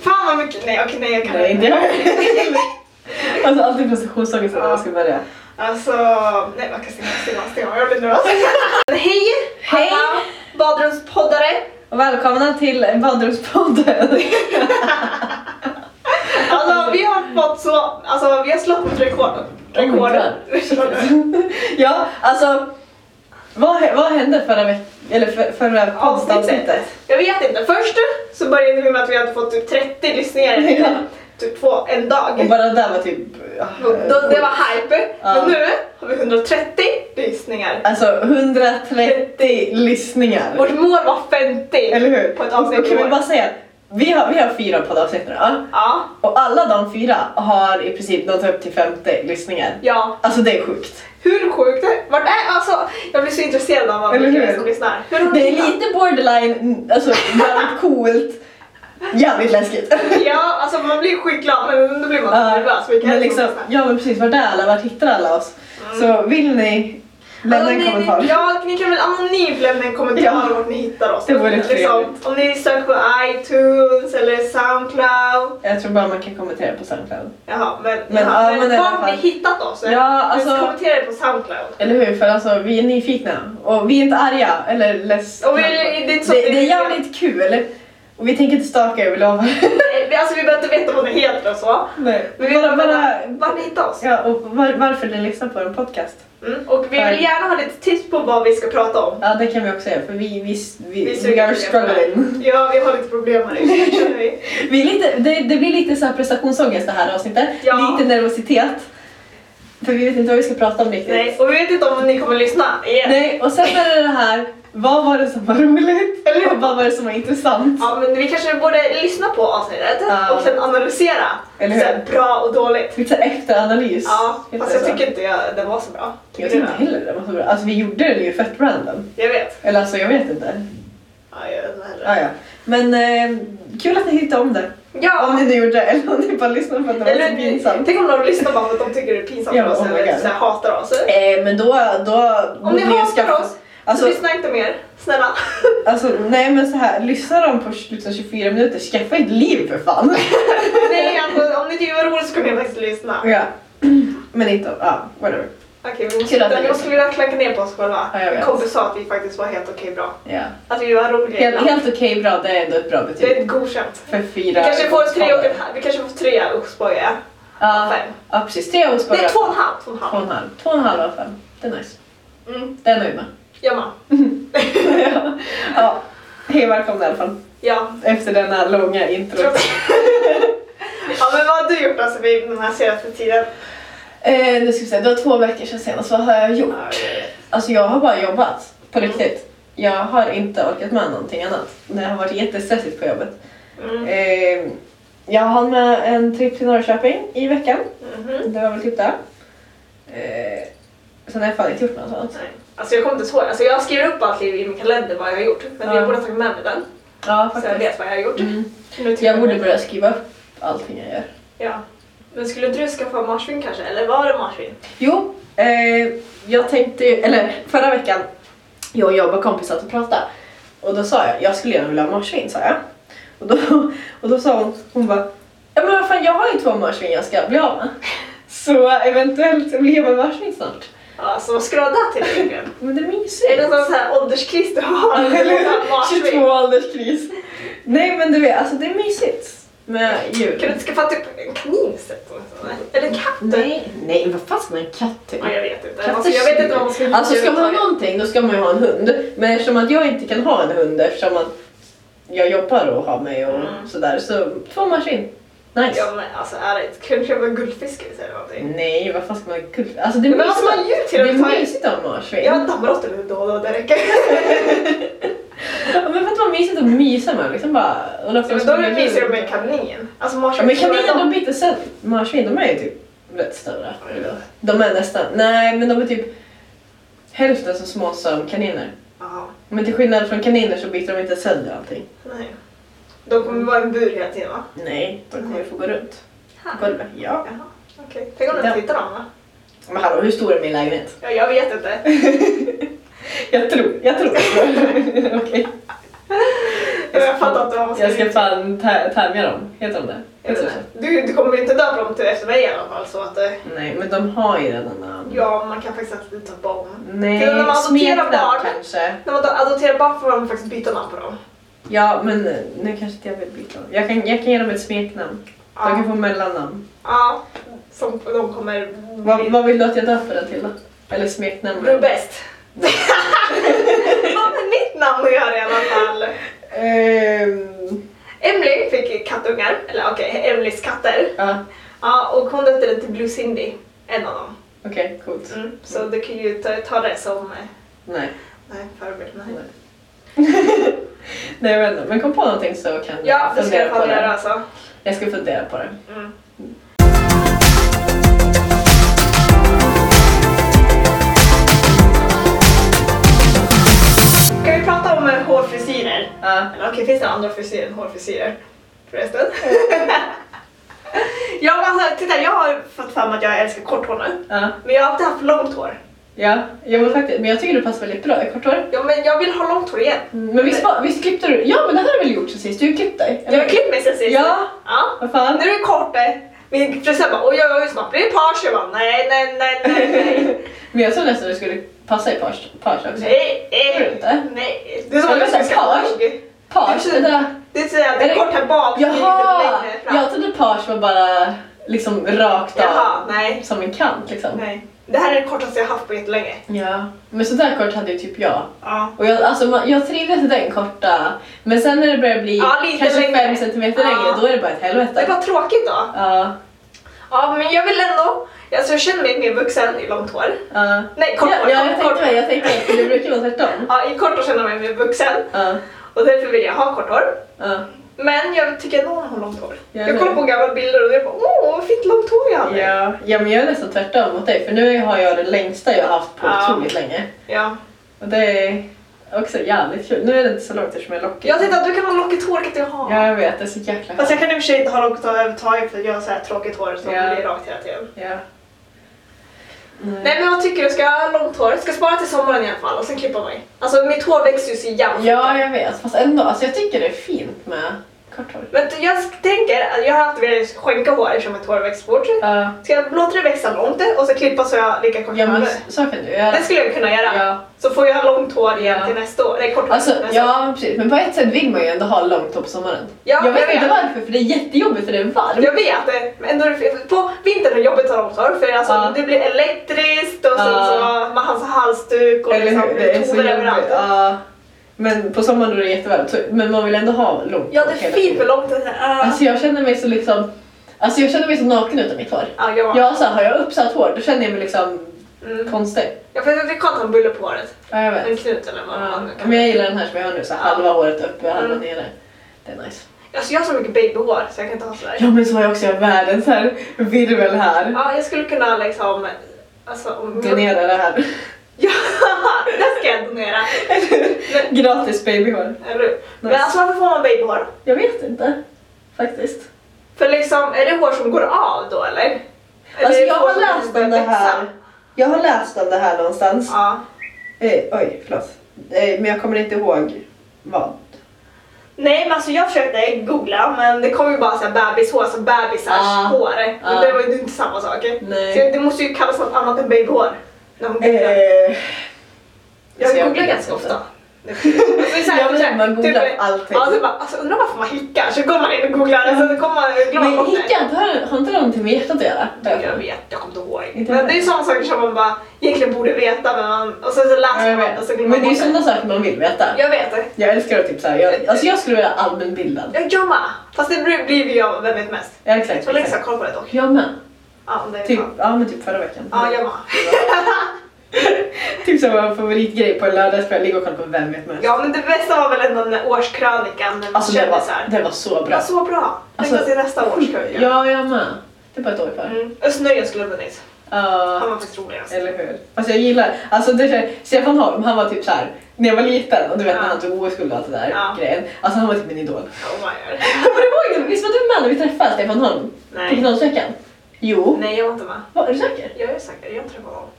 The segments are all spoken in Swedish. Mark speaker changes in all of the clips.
Speaker 1: Fan vad mycket, nej okej nej jag kan
Speaker 2: Nej,
Speaker 1: inte.
Speaker 2: inte. Alltså alltid prestationsångest när man ska börja.
Speaker 1: Alltså, nej vad kan jag säga? Stilla, stilla, jag blir nervös. Hej!
Speaker 2: Hej.
Speaker 1: Alla badrumspoddare!
Speaker 2: Och välkomna till badrumspodden.
Speaker 1: Alltså vi har fått så, alltså vi har slagit rekorden.
Speaker 2: Oh my
Speaker 1: Rekorden.
Speaker 2: ja, alltså. Vad, hä- vad hände förra veckan? Eller för, förra poddavsnittet?
Speaker 1: jag vet inte, först så började vi med att vi hade fått typ 30 lyssningar
Speaker 2: Ja.
Speaker 1: i typ två, en
Speaker 2: Och
Speaker 1: dag.
Speaker 2: bara det där var typ... ah,
Speaker 1: Då, det var hype,
Speaker 2: Ja.
Speaker 1: men nu har vi 130 lyssningar.
Speaker 2: Alltså 130 lyssningar.
Speaker 1: Vårt mål var 50
Speaker 2: Eller hur?
Speaker 1: på ett avsnitt
Speaker 2: Och
Speaker 1: i
Speaker 2: kan
Speaker 1: år.
Speaker 2: vi bara säga vi har, vi har fyra poddavsnitt nu ja.
Speaker 1: Ja,
Speaker 2: Och alla de fyra har i princip nått upp till 50 lyssningar.
Speaker 1: ja.
Speaker 2: Alltså det är sjukt.
Speaker 1: Hur sjukt är Vart är, alltså jag blir så intresserad av vad
Speaker 2: Eller
Speaker 1: vilka det
Speaker 2: hur?
Speaker 1: är som lyssnar. Hur har de
Speaker 2: Det är
Speaker 1: lyssnat?
Speaker 2: lite borderline, alltså jävligt coolt, jävligt läskigt.
Speaker 1: Ja, alltså man blir skitglad men då blir man
Speaker 2: Ja,
Speaker 1: nervös. Vilka är
Speaker 2: men
Speaker 1: det Mm. som
Speaker 2: liksom,
Speaker 1: lyssnar?
Speaker 2: ja men precis, vart är alla? Vart hittar alla oss? Så vill ni lämna
Speaker 1: Alltså,
Speaker 2: en
Speaker 1: ni-
Speaker 2: kommentar?
Speaker 1: Ni, ja, ni kan väl anonymt lämna en kommentar
Speaker 2: Ja.
Speaker 1: vart ni hittar oss. Liksom,
Speaker 2: Det vore trevligt.
Speaker 1: Om ni söker på iTunes eller Soundcloud.
Speaker 2: Jag tror bara man kan kommentera på Soundcloud.
Speaker 1: Jaha, men,
Speaker 2: Men, ja, men i alla
Speaker 1: vart
Speaker 2: fall.
Speaker 1: ni hittat oss? eh?
Speaker 2: Ja,
Speaker 1: Men
Speaker 2: alltså,
Speaker 1: Kommentera det på Soundcloud.
Speaker 2: eller hur? För alltså vi är nyfikna och vi är inte arga eller ledsna.
Speaker 1: Och vi, det är inte
Speaker 2: Det,
Speaker 1: så
Speaker 2: det är jävligt kul. Och vi tänker inte stalka er, vi lovar.
Speaker 1: vi, alltså, vi behöver inte veta vad ni heter och så.
Speaker 2: Nej.
Speaker 1: Men vi vill
Speaker 2: bara, bara,
Speaker 1: veta vart ni hittar oss.
Speaker 2: ja, och var, varför ni lyssnar på en podcast.
Speaker 1: Mm. Och vi
Speaker 2: Tack.
Speaker 1: vill gärna ha lite tips på vad vi ska prata om.
Speaker 2: Ja, det kan vi också göra för vi, vi, vi,
Speaker 1: Vi
Speaker 2: we
Speaker 1: suger
Speaker 2: are
Speaker 1: på det.
Speaker 2: struggling.
Speaker 1: Ja, vi har lite problem här nu. känner vi.
Speaker 2: Vi är lite, det, det blir lite så här prestationsångest det här avsnittet.
Speaker 1: Ja.
Speaker 2: Lite nervositet. För vi vet inte vad vi ska prata om riktigt.
Speaker 1: Nej, och vi vet inte om ni kommer lyssna igen.
Speaker 2: Nej, och sen är det det här, vad var det som var roligt?
Speaker 1: Eller hur?
Speaker 2: och vad var det som var intressant?
Speaker 1: Ja, men vi kanske borde lyssna på avsnittet
Speaker 2: Ja.
Speaker 1: och sen analysera.
Speaker 2: Eller hur?
Speaker 1: Så här, bra och dåligt.
Speaker 2: Lite så här efteranalys.
Speaker 1: Ja,
Speaker 2: Heter
Speaker 1: fast jag
Speaker 2: det så?
Speaker 1: tycker inte jag, den var så bra.
Speaker 2: jag
Speaker 1: Tycker
Speaker 2: tycker
Speaker 1: du
Speaker 2: inte
Speaker 1: det?
Speaker 2: heller det var så bra. Alltså vi gjorde den ju fett random.
Speaker 1: Jag vet.
Speaker 2: Eller alltså jag vet inte.
Speaker 1: Ja, jag vet inte heller.
Speaker 2: Ah, ja. Men eh, kul att ni hittade om det.
Speaker 1: Ja,
Speaker 2: Om ni nu gjorde det eller om ni bara lyssnade för att det var
Speaker 1: eller
Speaker 2: så pinsamt.
Speaker 1: tänk om de lyssnar bara för att de tycker det är pinsamt
Speaker 2: Ja,
Speaker 1: för oss
Speaker 2: oh my
Speaker 1: eller
Speaker 2: God.
Speaker 1: så här, hatar oss.
Speaker 2: Eh, men då... då
Speaker 1: Om ni
Speaker 2: borde ju
Speaker 1: hatar
Speaker 2: skaffa-
Speaker 1: oss,
Speaker 2: Alltså,
Speaker 1: så lyssna inte mer. Snälla.
Speaker 2: alltså, nej men så här, lyssnar de på liksom 24 minuter, skaffa ett liv för fan.
Speaker 1: Nej, alltså, om ni tycker det var roligt så kommer ni faktiskt lyssna.
Speaker 2: ja. Men inte, ja, whatever.
Speaker 1: Okej, vi
Speaker 2: Kul att
Speaker 1: måste,
Speaker 2: ni
Speaker 1: vi måste vilja klanka ner på oss själva.
Speaker 2: Ja, jag
Speaker 1: en
Speaker 2: vet.
Speaker 1: kompis sa att vi faktiskt var helt okej bra.
Speaker 2: Ja.
Speaker 1: Att vi var roliga
Speaker 2: Helt,
Speaker 1: ibland.
Speaker 2: helt okej bra, det är ändå ett bra betyg.
Speaker 1: Det är godkänt.
Speaker 2: För fyra...
Speaker 1: Vi kanske får tre och en halv. Vi kanske får tre Oxboja.
Speaker 2: Ja,
Speaker 1: Fem.
Speaker 2: ja precis, tre och
Speaker 1: Nej,
Speaker 2: spara.
Speaker 1: två och en halv. Två och en
Speaker 2: Två och
Speaker 1: halv.
Speaker 2: en halv. Två och en halv av fem. Det är nice.
Speaker 1: Mm,
Speaker 2: Det är jag nöjd med.
Speaker 1: jag med.
Speaker 2: ja. ja. Hej välkomna i alla fall.
Speaker 1: Ja.
Speaker 2: Efter denna långa intro.
Speaker 1: tror- ja, men vad har du gjort alltså vid den här senaste tiden?
Speaker 2: Eh, nu ska vi se, det var två veckor sedan senast. Vad har jag gjort?
Speaker 1: Ja, jag vet.
Speaker 2: Alltså jag har bara jobbat, på riktigt. Jag har inte orkat med någonting annat. Det har varit jättestressigt på jobbet.
Speaker 1: Mm.
Speaker 2: Eh, jag hann med en trip till Norrköping i veckan.
Speaker 1: Mhm.
Speaker 2: Det var väl typ det. Eh, sen har jag fan inte gjort något annat.
Speaker 1: Nej. Alltså jag kommer inte ens ihåg. Alltså jag skriver upp allt i i min kalender vad jag har gjort. Men
Speaker 2: Ja.
Speaker 1: jag borde ha tagit med mig den.
Speaker 2: Ja,
Speaker 1: Så jag
Speaker 2: faktiskt.
Speaker 1: vet vad jag har gjort.
Speaker 2: Mm.
Speaker 1: Nu tycker
Speaker 2: Jag borde börja skriva upp allting jag gör.
Speaker 1: Ja. Men skulle inte du skaffa marsvin kanske? Eller var det marsvin?
Speaker 2: Jo, eh, jag tänkte ju, eller förra veckan, jag och jag var kompisar och pratade. Och då sa jag, jag skulle gärna vilja ha marsvin, sa jag. Och då, och då sa hon, hon bara, ja men vad fan jag har ju två marsvin jag ska bli av med. Så eventuellt så blir jag med marsvin snart.
Speaker 1: Ja, Alltså vad skulle du ha där till egentligen?
Speaker 2: Men det är mysigt.
Speaker 1: Är det någon sån här ålderskris du har?
Speaker 2: Eller
Speaker 1: Någon sån här
Speaker 2: hur?
Speaker 1: marsvin?
Speaker 2: 22 ålderskris. Nej men du vet, alltså det är mysigt med
Speaker 1: Kan
Speaker 2: djur.
Speaker 1: du inte skaffa typ en kanin istället? Eller en katt?
Speaker 2: Nej, nej vad fan ska man ha en katt till?
Speaker 1: Ja, jag vet inte.
Speaker 2: Katter
Speaker 1: Alltså, jag vet inte vad man ska
Speaker 2: Alltså ska man ha
Speaker 1: överhuvudtaget.
Speaker 2: någonting då ska man ju ha en hund. Men eftersom att jag inte kan ha en hund eftersom att jag jobbar och har mig och
Speaker 1: Mm.
Speaker 2: sådär så två maskin. Nice.
Speaker 1: Ja men alltså ärligt, kan du köpa en guldfisk eller någonting?
Speaker 2: Nej vad fan ska man kul- Alltså det är
Speaker 1: Men vad ska
Speaker 2: mysigt,
Speaker 1: man ge till
Speaker 2: det är
Speaker 1: överhuvudtaget?
Speaker 2: mysigt att ha marsvin.
Speaker 1: Jag har en dammråtta lite då och då, det räcker.
Speaker 2: Ja, Men vet du vad mysigt att mysa med? Liksom bara, och låta
Speaker 1: Ja, Men
Speaker 2: dem
Speaker 1: då är
Speaker 2: springa
Speaker 1: det mysigare
Speaker 2: runt.
Speaker 1: med en kanin. Alltså
Speaker 2: Ja,
Speaker 1: marsvin.
Speaker 2: Men kaniner de byter sätt. Marsvin de är ju typ rätt stora.
Speaker 1: Ja.
Speaker 2: De är nästan, nej men de är typ hälften så små som kaniner.
Speaker 1: Ja,
Speaker 2: Men till skillnad från kaniner så byter de inte sönder allting.
Speaker 1: nej. De kommer vara i en bur hela tiden va?
Speaker 2: Nej, de kommer ju få gå runt.
Speaker 1: Här.
Speaker 2: Golvet? Ja.
Speaker 1: Jaha, okej. Tänk om de inte hittar dem va?
Speaker 2: Men hallå, hur stor är min lägenhet?
Speaker 1: Ja, jag vet inte.
Speaker 2: Jag tror, jag tror. Okej.
Speaker 1: Jag fattar inte vad man
Speaker 2: Jag ska
Speaker 1: göra.
Speaker 2: fan tä- tämja dem. Heter de det? Heter det så?
Speaker 1: Du, du kommer inte döpa dem till efter mig i alla fall. Så att, eh,
Speaker 2: Nej, men de har ju redan namn.
Speaker 1: ja, man kan faktiskt alltid ta barn. Kan de
Speaker 2: Nej,
Speaker 1: adoptera barn?
Speaker 2: smeknamn kanske.
Speaker 1: När man då adopterar barn får man faktiskt byta namn på dem.
Speaker 2: Ja, men nu kanske inte jag vill byta. Jag kan, jag kan ge dem ett smeknamn.
Speaker 1: Ja.
Speaker 2: De kan få mellannamn.
Speaker 1: Ja, som de kommer...
Speaker 2: Vad, vad vill du att jag döper den till då? Eller smeknamn?
Speaker 1: Du är bäst. Vad med mitt namn att göra i alla fall?
Speaker 2: Ehm,
Speaker 1: Emily fick kattungar, eller okej, Emilys katter.
Speaker 2: Ja,
Speaker 1: Ja, och hon döpte den till Blue Cindy, en av dem.
Speaker 2: okej, coolt.
Speaker 1: Mm. Så du kan ju ta, ta det som... eh,
Speaker 2: Nej.
Speaker 1: Nej, förebild. Nej.
Speaker 2: Nej. Nej, jag vet inte. Men kom på någonting så kan
Speaker 1: Ja, det ska jag
Speaker 2: på
Speaker 1: fan göra
Speaker 2: det.
Speaker 1: alltså.
Speaker 2: Jag ska fundera på det.
Speaker 1: Mm. Ska vi prata om eh, hårfrisyrer?
Speaker 2: Ja.
Speaker 1: Eller okej, finns det andra frisyrer än hårfrisyrer? Förresten. jag, bara, så här, alltså, titta, jag har fått fram att jag älskar kort hår nu.
Speaker 2: Ja,
Speaker 1: Men jag har alltid haft långt hår.
Speaker 2: ja. Jag vill faktiskt, men jag tycker du passar väldigt bra i kort hår.
Speaker 1: Ja, men jag vill ha långt hår igen.
Speaker 2: Men visst, var- visst klippte du? Ja, men det här har du väl gjort sen sist? Du har ju klippt dig?
Speaker 1: Jag har klippt mig sen sist.
Speaker 2: Ja.
Speaker 1: ja.
Speaker 2: Vad fan?
Speaker 1: Nu är det kort. eh. Min frisör bara oj oj oj snart blir det page. Jag bara nej nej nej nej nej.
Speaker 2: Men jag trodde nästan du skulle passa i page, page också.
Speaker 1: nej,
Speaker 2: Tror du inte?
Speaker 1: eh, nej. Det är som att jag
Speaker 2: Men
Speaker 1: ska
Speaker 2: vänta, page?
Speaker 1: skaffa
Speaker 2: Page, det där.
Speaker 1: Det är såhär, det är kort här bak. det är
Speaker 2: Jaha!
Speaker 1: Lite längre fram.
Speaker 2: Jag trodde page var bara liksom rakt av.
Speaker 1: Jaha, nej.
Speaker 2: Som en kant liksom.
Speaker 1: Nej. Det här är det kortaste jag haft på jättelänge.
Speaker 2: Ja. Men sådär kort hade ju typ jag.
Speaker 1: Ja.
Speaker 2: Och jag, alltså, man- jag trivdes i den korta. Men sen när det börjar bli
Speaker 1: Ja, lite
Speaker 2: kanske
Speaker 1: längre.
Speaker 2: fem centimeter
Speaker 1: Ja.
Speaker 2: längre, då är det bara ett
Speaker 1: Det är
Speaker 2: helvete.
Speaker 1: bara tråkigt då.
Speaker 2: Ja.
Speaker 1: Ja, men jag vill ändå... Alltså jag känner mig mer vuxen i långt hår.
Speaker 2: ja.
Speaker 1: Nej, kort
Speaker 2: Ja,
Speaker 1: hår.
Speaker 2: ja, jag
Speaker 1: kort, kort.
Speaker 2: tänkte mig, jag tänkte mig. Det brukar vara tvärtom.
Speaker 1: Ja, i kort hår känner jag mig mer vuxen
Speaker 2: Ja.
Speaker 1: och därför vill jag ha kort hår.
Speaker 2: Ja.
Speaker 1: Men jag tycker ändå om att ha långt hår.
Speaker 2: Ja,
Speaker 1: jag kollar på gamla bilder och jag bara åh, vad fint långt hår jag hade.
Speaker 2: Ja, ja, men jag är nästan tvärtom mot dig för nu har jag det längsta jag har haft på
Speaker 1: Ja.
Speaker 2: otroligt länge.
Speaker 1: Ja.
Speaker 2: Och det är också jävligt kul. Nu är det inte så långt eftersom jag är lockig.
Speaker 1: Jag tänkte att du kan ha lockigt hår, kan inte jag ha?
Speaker 2: Ja, jag vet. Det är så jäkla
Speaker 1: Fast jag kan i och för sig inte ha långt hår överhuvudtaget för jag har så här tråkigt hår som
Speaker 2: Ja.
Speaker 1: blir rakt hela tiden.
Speaker 2: Ja. Mm.
Speaker 1: Nej men jag tycker du ska ha långt hår, jag ska spara till sommaren i alla fall och sen klippa mig. Alltså mitt hår växer ju så jävla
Speaker 2: Ja, jag vet. Fast ändå. Alltså, jag tycker det är fint med kort hår.
Speaker 1: Men jag tänker, att jag har alltid velat skänka hår eftersom mitt hår växer fort.
Speaker 2: Ja,
Speaker 1: Ska jag låta det växa långt och så klippa så jag har lika kort
Speaker 2: ja
Speaker 1: hår?
Speaker 2: men så kan du göra.
Speaker 1: Det skulle jag kunna göra.
Speaker 2: Ja.
Speaker 1: Så får jag långt hår igen
Speaker 2: Ja.
Speaker 1: till nästa år. Nej, kort hår till
Speaker 2: Alltså,
Speaker 1: nästa år.
Speaker 2: ja, men precis. Men på ett sätt vill man ju ändå ha långt hår på sommaren.
Speaker 1: Ja,
Speaker 2: jag
Speaker 1: jag
Speaker 2: vet
Speaker 1: vet.
Speaker 2: inte varför, för det är jättejobbigt för det är varmt.
Speaker 1: Jag vet det, men ändå är det fel. på vintern är jobbigt att ha långt hår för alltså,
Speaker 2: Ja.
Speaker 1: det blir elektriskt och sen
Speaker 2: Ja.
Speaker 1: så man har så halsduk och liksom,
Speaker 2: Det är så
Speaker 1: tover överallt.
Speaker 2: jobbigt. Ja. Men på sommaren då är det jättevarmt. så- Men man vill ändå ha långt
Speaker 1: Ja, det
Speaker 2: hår
Speaker 1: är fint
Speaker 2: hela tiden.
Speaker 1: med långt hår. Ja.
Speaker 2: Alltså jag känner mig så liksom... Alltså jag känner mig så naken utan mitt hår.
Speaker 1: Ja, jag var.
Speaker 2: Ja, så här, har jag uppsatt hår då känner jag mig liksom
Speaker 1: Mm.
Speaker 2: konstig.
Speaker 1: Jag vet att det kan ha en bulle på håret.
Speaker 2: Ja, jag vet.
Speaker 1: En knut eller vad
Speaker 2: Ja.
Speaker 1: man kan.
Speaker 2: Men jag gillar den här som jag har nu, så här,
Speaker 1: Ja.
Speaker 2: halva håret uppe och halva
Speaker 1: Mm.
Speaker 2: nere. Det är nice.
Speaker 1: Alltså jag har så mycket babyhår så jag kan inte ha sådär.
Speaker 2: Ja men så har jag också, jag har världens här virvel här.
Speaker 1: Ja, jag skulle kunna liksom... Alltså, om-
Speaker 2: Donera det här.
Speaker 1: Ja, det ska jag donera.
Speaker 2: Gratis babyhår.
Speaker 1: Eller hur? Men
Speaker 2: Nice.
Speaker 1: alltså varför får man babyhår?
Speaker 2: Jag vet inte. Faktiskt.
Speaker 1: För liksom, är det hår som går av då eller? Eller
Speaker 2: Alltså
Speaker 1: är det
Speaker 2: jag
Speaker 1: hår
Speaker 2: har
Speaker 1: som
Speaker 2: läst
Speaker 1: börjar
Speaker 2: om det
Speaker 1: växa?
Speaker 2: här. Jag har läst om det här någonstans.
Speaker 1: Ja.
Speaker 2: Eh, oj, förlåt. Eh, men jag kommer inte ihåg vad.
Speaker 1: Nej men alltså jag försökte googla men det kom ju bara såhär bebishår, alltså bebisars
Speaker 2: Ah.
Speaker 1: hår. Men
Speaker 2: Ah.
Speaker 1: det var ju inte samma sak.
Speaker 2: Nej.
Speaker 1: Så det måste ju kallas något annat än babyhår. När man googlar.
Speaker 2: Eh,
Speaker 1: jag
Speaker 2: så jag
Speaker 1: googlar
Speaker 2: vet
Speaker 1: ganska
Speaker 2: inte.
Speaker 1: ofta. Det är så här-
Speaker 2: Jag
Speaker 1: det är så här,
Speaker 2: vet, man googlar
Speaker 1: typ-
Speaker 2: allting.
Speaker 1: Ja, så bara, alltså, undrar varför man hickar. Så går man in och googlar och så kommer man glömma
Speaker 2: men
Speaker 1: bort det.
Speaker 2: hickan, har, har inte det någonting med hjärtat att göra?
Speaker 1: Jag vet, jag kommer inte ihåg.
Speaker 2: Inte
Speaker 1: men
Speaker 2: jag.
Speaker 1: det är sådana saker som man bara egentligen borde veta men man, och sen så
Speaker 2: Ja,
Speaker 1: läser
Speaker 2: jag
Speaker 1: man och så
Speaker 2: vet.
Speaker 1: glömmer
Speaker 2: Men
Speaker 1: man
Speaker 2: det är ju
Speaker 1: Alltså, bort det.
Speaker 2: sådana saker man vill veta.
Speaker 1: Jag vet det.
Speaker 2: Jag älskar att typ såhär, jag, alltså jag skulle vilja vara allmänbildad.
Speaker 1: Jag jammar. Fast det blir blir ju jag vem vet mest.
Speaker 2: Ja, exakt.
Speaker 1: Så Alexa
Speaker 2: exakt.
Speaker 1: har koll på det dock.
Speaker 2: Jag med.
Speaker 1: Ja, om det är
Speaker 2: Typ,
Speaker 1: sant.
Speaker 2: ja men typ förra veckan.
Speaker 1: Ja, jammar.
Speaker 2: Typ som var en favoritgrej på en lördagskväll, ligga och kolla på Vem vet mest.
Speaker 1: Ja men det bästa var väl ändå den där årskrönikan när man
Speaker 2: Alltså det
Speaker 1: kände
Speaker 2: var,
Speaker 1: så här.
Speaker 2: det var så
Speaker 1: Det var
Speaker 2: bra.
Speaker 1: så bra. Tänk
Speaker 2: Alltså-
Speaker 1: att det är nästa årskrönika.
Speaker 2: Ja, jag med. Det är bara ett år kvar.
Speaker 1: Mm. Östnöjen skulle ha vunnit.
Speaker 2: Ja.
Speaker 1: Han var faktiskt roligast.
Speaker 2: Eller hur? Alltså jag gillar, alltså det är, Stefan Holm han var typ så här när jag var liten och du vet
Speaker 1: Ja.
Speaker 2: när han tog OS-guld och allt det där
Speaker 1: Ja.
Speaker 2: grejen. Alltså han var typ min idol.
Speaker 1: Oh my god.
Speaker 2: Kommer du ihåg det? Visst var du med när vi träffade Stefan Holm? På
Speaker 1: Nej.
Speaker 2: finalsveckan? Jo.
Speaker 1: Nej jag var inte med.
Speaker 2: Vad, är du säker?
Speaker 1: Jag är säker, jag träffade honom.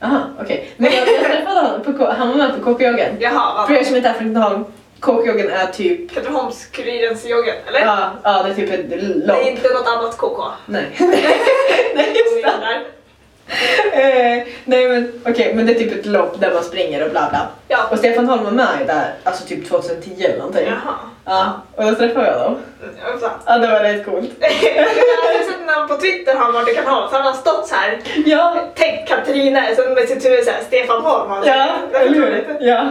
Speaker 2: Jaha, okej. Men jag, jag träffade honom, på, K- han var med på KP-joggen.
Speaker 1: Jaha,
Speaker 2: För
Speaker 1: vad
Speaker 2: er som inte är från Holm, Kåkjoggen är typ...
Speaker 1: Katrineholmskurirens joggen, eller?
Speaker 2: Ja, ja, det är typ ett
Speaker 1: det är
Speaker 2: lopp.
Speaker 1: inte något annat KK.
Speaker 2: Nej. Nej, just det. Eh, nej men okej, men det är typ ett lopp där man springer och bla bla.
Speaker 1: Ja.
Speaker 2: Och Stefan Holm var med där, alltså typ 2010 eller någonting.
Speaker 1: Jaha.
Speaker 2: Ja, och då träffade jag dem.
Speaker 1: Mm, jag fattar.
Speaker 2: Ja, det var rätt coolt.
Speaker 1: Jag har sett namn på Twitter han vart det kan ha, så han har stått så här.
Speaker 2: Ja,
Speaker 1: Tänk Katrina, sen med sitt huvud såhär Stefan Holm. alltså. Han-
Speaker 2: ja,
Speaker 1: Det är
Speaker 2: eller
Speaker 1: otroligt.
Speaker 2: hur? Ja.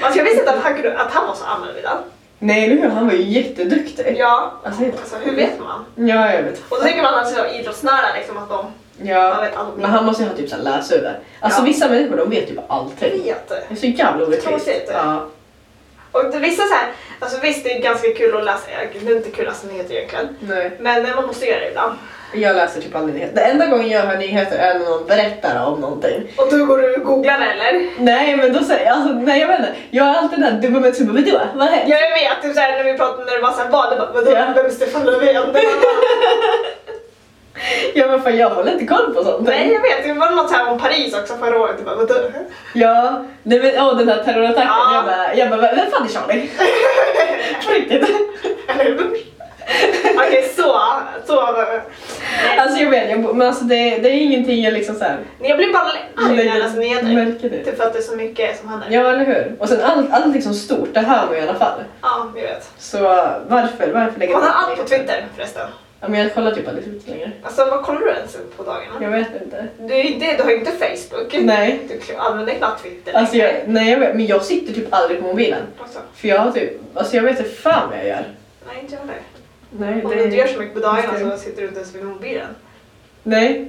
Speaker 1: Man ska visst att han, kunde, att han var så annorlunda.
Speaker 2: Nej, eller hur? Han var ju jätteduktig.
Speaker 1: Ja.
Speaker 2: Alltså, helt-
Speaker 1: Alltså, hur vet man?
Speaker 2: Ja, jag vet.
Speaker 1: Och då tänker man att alltså, idrottsnära liksom att de Jag
Speaker 2: Ja,
Speaker 1: vet allt.
Speaker 2: men han måste ju ha typ såhär läshuvud. Alltså
Speaker 1: Ja.
Speaker 2: vissa människor de vet typ allting.
Speaker 1: vet.
Speaker 2: Det är så jävla orättvist.
Speaker 1: Tråkigt.
Speaker 2: Ja.
Speaker 1: Och det- vissa så här, alltså visst det är ganska kul att läsa, det är inte kul att läsa nyheter egentligen.
Speaker 2: Nej.
Speaker 1: Men eh, man måste göra det ibland.
Speaker 2: Jag läser typ aldrig nyheter. Det enda gången jag hör nyheter är när någon berättar om någonting.
Speaker 1: Och då går du och googlar eller?
Speaker 2: Nej men då säger jag, alltså, nej jag vet inte. Jag är alltid den dumma med tummen, vadå? Vad har hänt?
Speaker 1: Jag vet, typ såhär när vi pratade när det var såhär vad, det bara, vadå,
Speaker 2: Ja.
Speaker 1: vem är Stefan Löfven? Det var bara,
Speaker 2: Ja men fan jag håller inte koll på sånt.
Speaker 1: Nej jag vet, det var något såhär om Paris också förra året, det bara vadå?
Speaker 2: Ja, nej men åh den här terrorattacken.
Speaker 1: Ja.
Speaker 2: Jag bara, jag bara, vem fan är Charlie? På riktigt.
Speaker 1: Eller hur? Okej så, så. Nej.
Speaker 2: Alltså jag vet, jag, men alltså det, det är ingenting jag liksom såhär.
Speaker 1: Jag blir bara arg när jag läser nyheter.
Speaker 2: Märker det.
Speaker 1: Typ för att det är så mycket som händer.
Speaker 2: Ja eller hur. Och sen allt, allt liksom stort, det hör man ju i alla fall.
Speaker 1: Ja, jag vet.
Speaker 2: Så varför, varför lägger
Speaker 1: Man har
Speaker 2: man
Speaker 1: allt på Twitter förresten.
Speaker 2: Ja men jag kollar typ aldrig Twitter längre.
Speaker 1: Alltså vad kollar du ens på dagarna?
Speaker 2: Jag vet inte.
Speaker 1: Du, är inte- du har ju inte Facebook.
Speaker 2: Nej.
Speaker 1: Du kl- använder knappt Twitter.
Speaker 2: Alltså jag, nej jag vet, men jag sitter typ aldrig på mobilen.
Speaker 1: Också.
Speaker 2: För jag har typ, alltså jag vet inte fan vad jag gör.
Speaker 1: Nej, inte jag heller.
Speaker 2: Nej,
Speaker 1: Om du inte gör så mycket på alltså. dagarna
Speaker 2: Just det.
Speaker 1: så sitter du inte ens vid mobilen.
Speaker 2: Nej.